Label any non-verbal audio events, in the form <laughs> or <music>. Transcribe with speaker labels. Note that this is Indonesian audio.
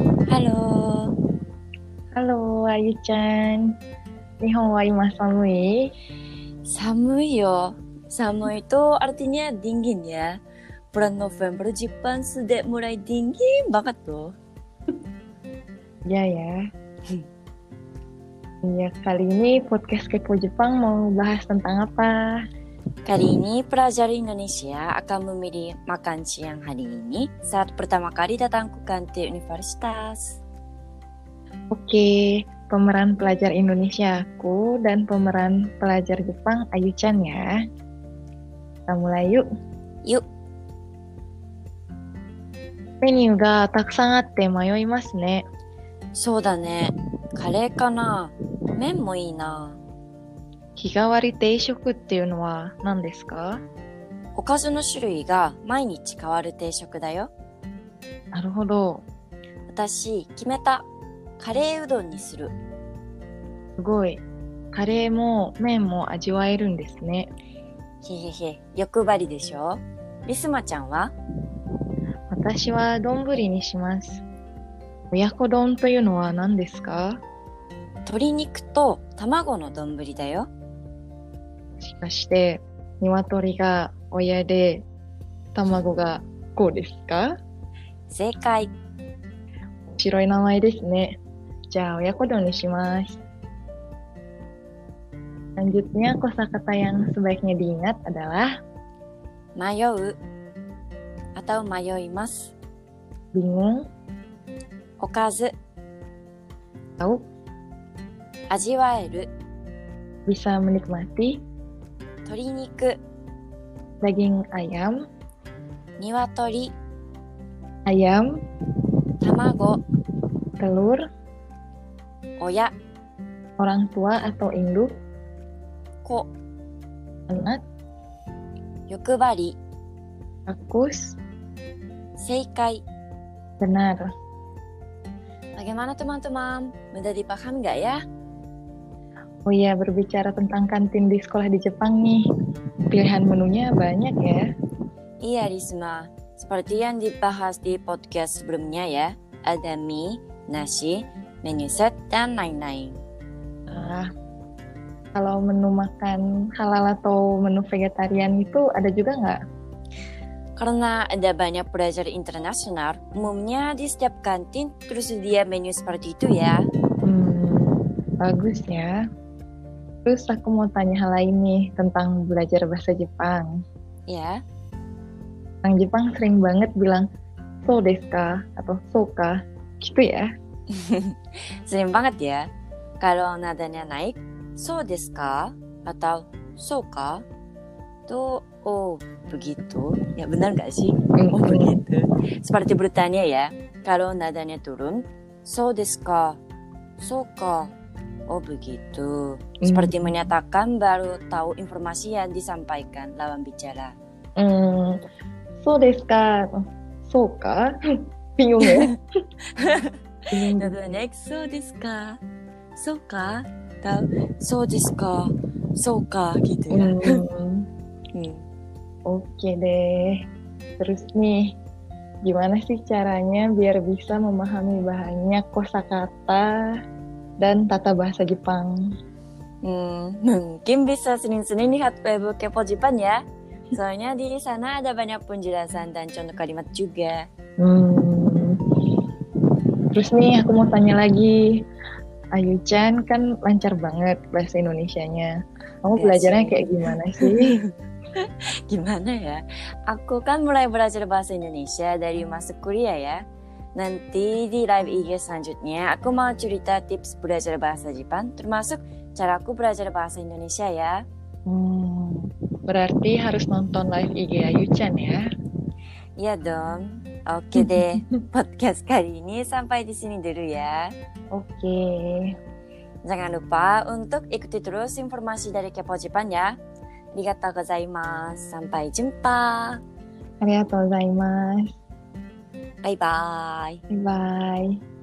Speaker 1: ハロ
Speaker 2: ハロー、あゆちゃん。日本は今寒い
Speaker 1: ー。Samui yo. Samui itu artinya dingin ya. Bulan November Jepang sudah mulai dingin banget loh.
Speaker 2: Iya ya. Ya, kali ini podcast Kepo Jepang mau bahas tentang apa?
Speaker 1: Kali ini pelajar Indonesia akan memilih makan siang hari ini saat pertama kali datang ke kantin universitas.
Speaker 2: Oke, pemeran pelajar Indonesia aku dan pemeran pelajar Jepang Ayu Chan ya. Kita mulai yuk.
Speaker 1: Yuk.
Speaker 2: メニューがたくさんあって迷いますね。
Speaker 1: そうだね。カレーかな麺もいいな。
Speaker 2: 日替わり定食っていうのは何ですか
Speaker 1: おかずの種類が毎日変わる定食だよ。
Speaker 2: なるほど。
Speaker 1: 私、決めた。カレーうどんにする。
Speaker 2: すごい。カレーも麺も味わえるんですね。
Speaker 1: へへへ、欲張りでしょリスマちゃんは
Speaker 2: 私は丼にします。親子丼というのは何ですか
Speaker 1: 鶏肉と卵の丼だよ。
Speaker 2: もしかして、鶏が親で、卵が子ですか
Speaker 1: 正解。
Speaker 2: 面白い名前ですね。じゃあ、親子丼にします。Selanjutnya kosakata yang sebaiknya diingat adalah
Speaker 1: 迷う。あたを迷います。
Speaker 2: bingung,
Speaker 1: おかず、
Speaker 2: tahu,
Speaker 1: 味わえる。
Speaker 2: bisa menikmati,
Speaker 1: 鶏肉、
Speaker 2: daging ayam,
Speaker 1: 鶏、
Speaker 2: ayam,
Speaker 1: 卵、
Speaker 2: telur,
Speaker 1: 親、
Speaker 2: orang tua atau induk,
Speaker 1: 子、
Speaker 2: anak,
Speaker 1: 欲張り、
Speaker 2: kakus,
Speaker 1: 正解。
Speaker 2: benar.
Speaker 1: Bagaimana teman-teman? Mudah dipaham nggak ya?
Speaker 2: Oh iya, berbicara tentang kantin di sekolah di Jepang nih. Pilihan menunya banyak ya.
Speaker 1: Iya Risma, seperti yang dibahas di podcast sebelumnya ya, ada mie, nasi, menu set, dan lain-lain.
Speaker 2: Ah, kalau menu makan halal atau menu vegetarian itu ada juga nggak?
Speaker 1: Karena ada banyak pelajar internasional, umumnya di setiap kantin tersedia menu seperti itu ya.
Speaker 2: Hmm, bagus ya. Terus aku mau tanya hal lain nih tentang belajar bahasa Jepang.
Speaker 1: Ya,
Speaker 2: Orang Jepang sering banget bilang so desu ka atau so ka gitu ya.
Speaker 1: sering banget ya. Kalau nadanya naik, so desu ka? Atau so ka? Tuh, oh begitu. Ya benar nggak sih?
Speaker 2: Hmm.
Speaker 1: Oh begitu. Seperti bertanya ya. Kalau nadanya turun, so desu ka? So ka? Oh begitu.
Speaker 2: hmm.
Speaker 1: Seperti menyatakan baru tahu informasi yang disampaikan lawan bicara.
Speaker 2: Hmm, so desu ka, so ka, bingung ya. Bingung.
Speaker 1: Nadanya so desu ka? So ka? Atau so desu ka? So ka? Gitu ya.
Speaker 2: Hmm,
Speaker 1: Hmm.
Speaker 2: Oke deh. Terus nih, gimana sih caranya biar bisa memahami banyak kosakata dan tata bahasa Jepang?
Speaker 1: Hmm, mungkin bisa sering-sering lihat web Kepo Jepang ya. Soalnya di sana ada banyak penjelasan dan contoh kalimat <laughs> juga.
Speaker 2: Hmm. Terus nih, aku mau tanya lagi. Ayu Chan kan lancar banget bahasa Indonesianya. Kamu
Speaker 1: Biasa.
Speaker 2: belajarnya kayak gimana sih?
Speaker 1: Gimana ya? Aku kan mulai belajar bahasa Indonesia dari masuk kuliah ya. Nanti di live IG selanjutnya aku mau cerita tips belajar bahasa Jepang termasuk cara aku belajar bahasa Indonesia ya.
Speaker 2: Hmm, Berarti harus nonton live IG Ayu Chan ya.
Speaker 1: Iya dong. Oke deh, podcast kali ini sampai di sini dulu ya.
Speaker 2: Oke.
Speaker 1: Jangan lupa untuk ikuti terus informasi dari Kepo Jepang ya. Arigatou gozaimasu. Sampai jumpa.
Speaker 2: ありがとうございます。
Speaker 1: Bye bye.
Speaker 2: バイバイ。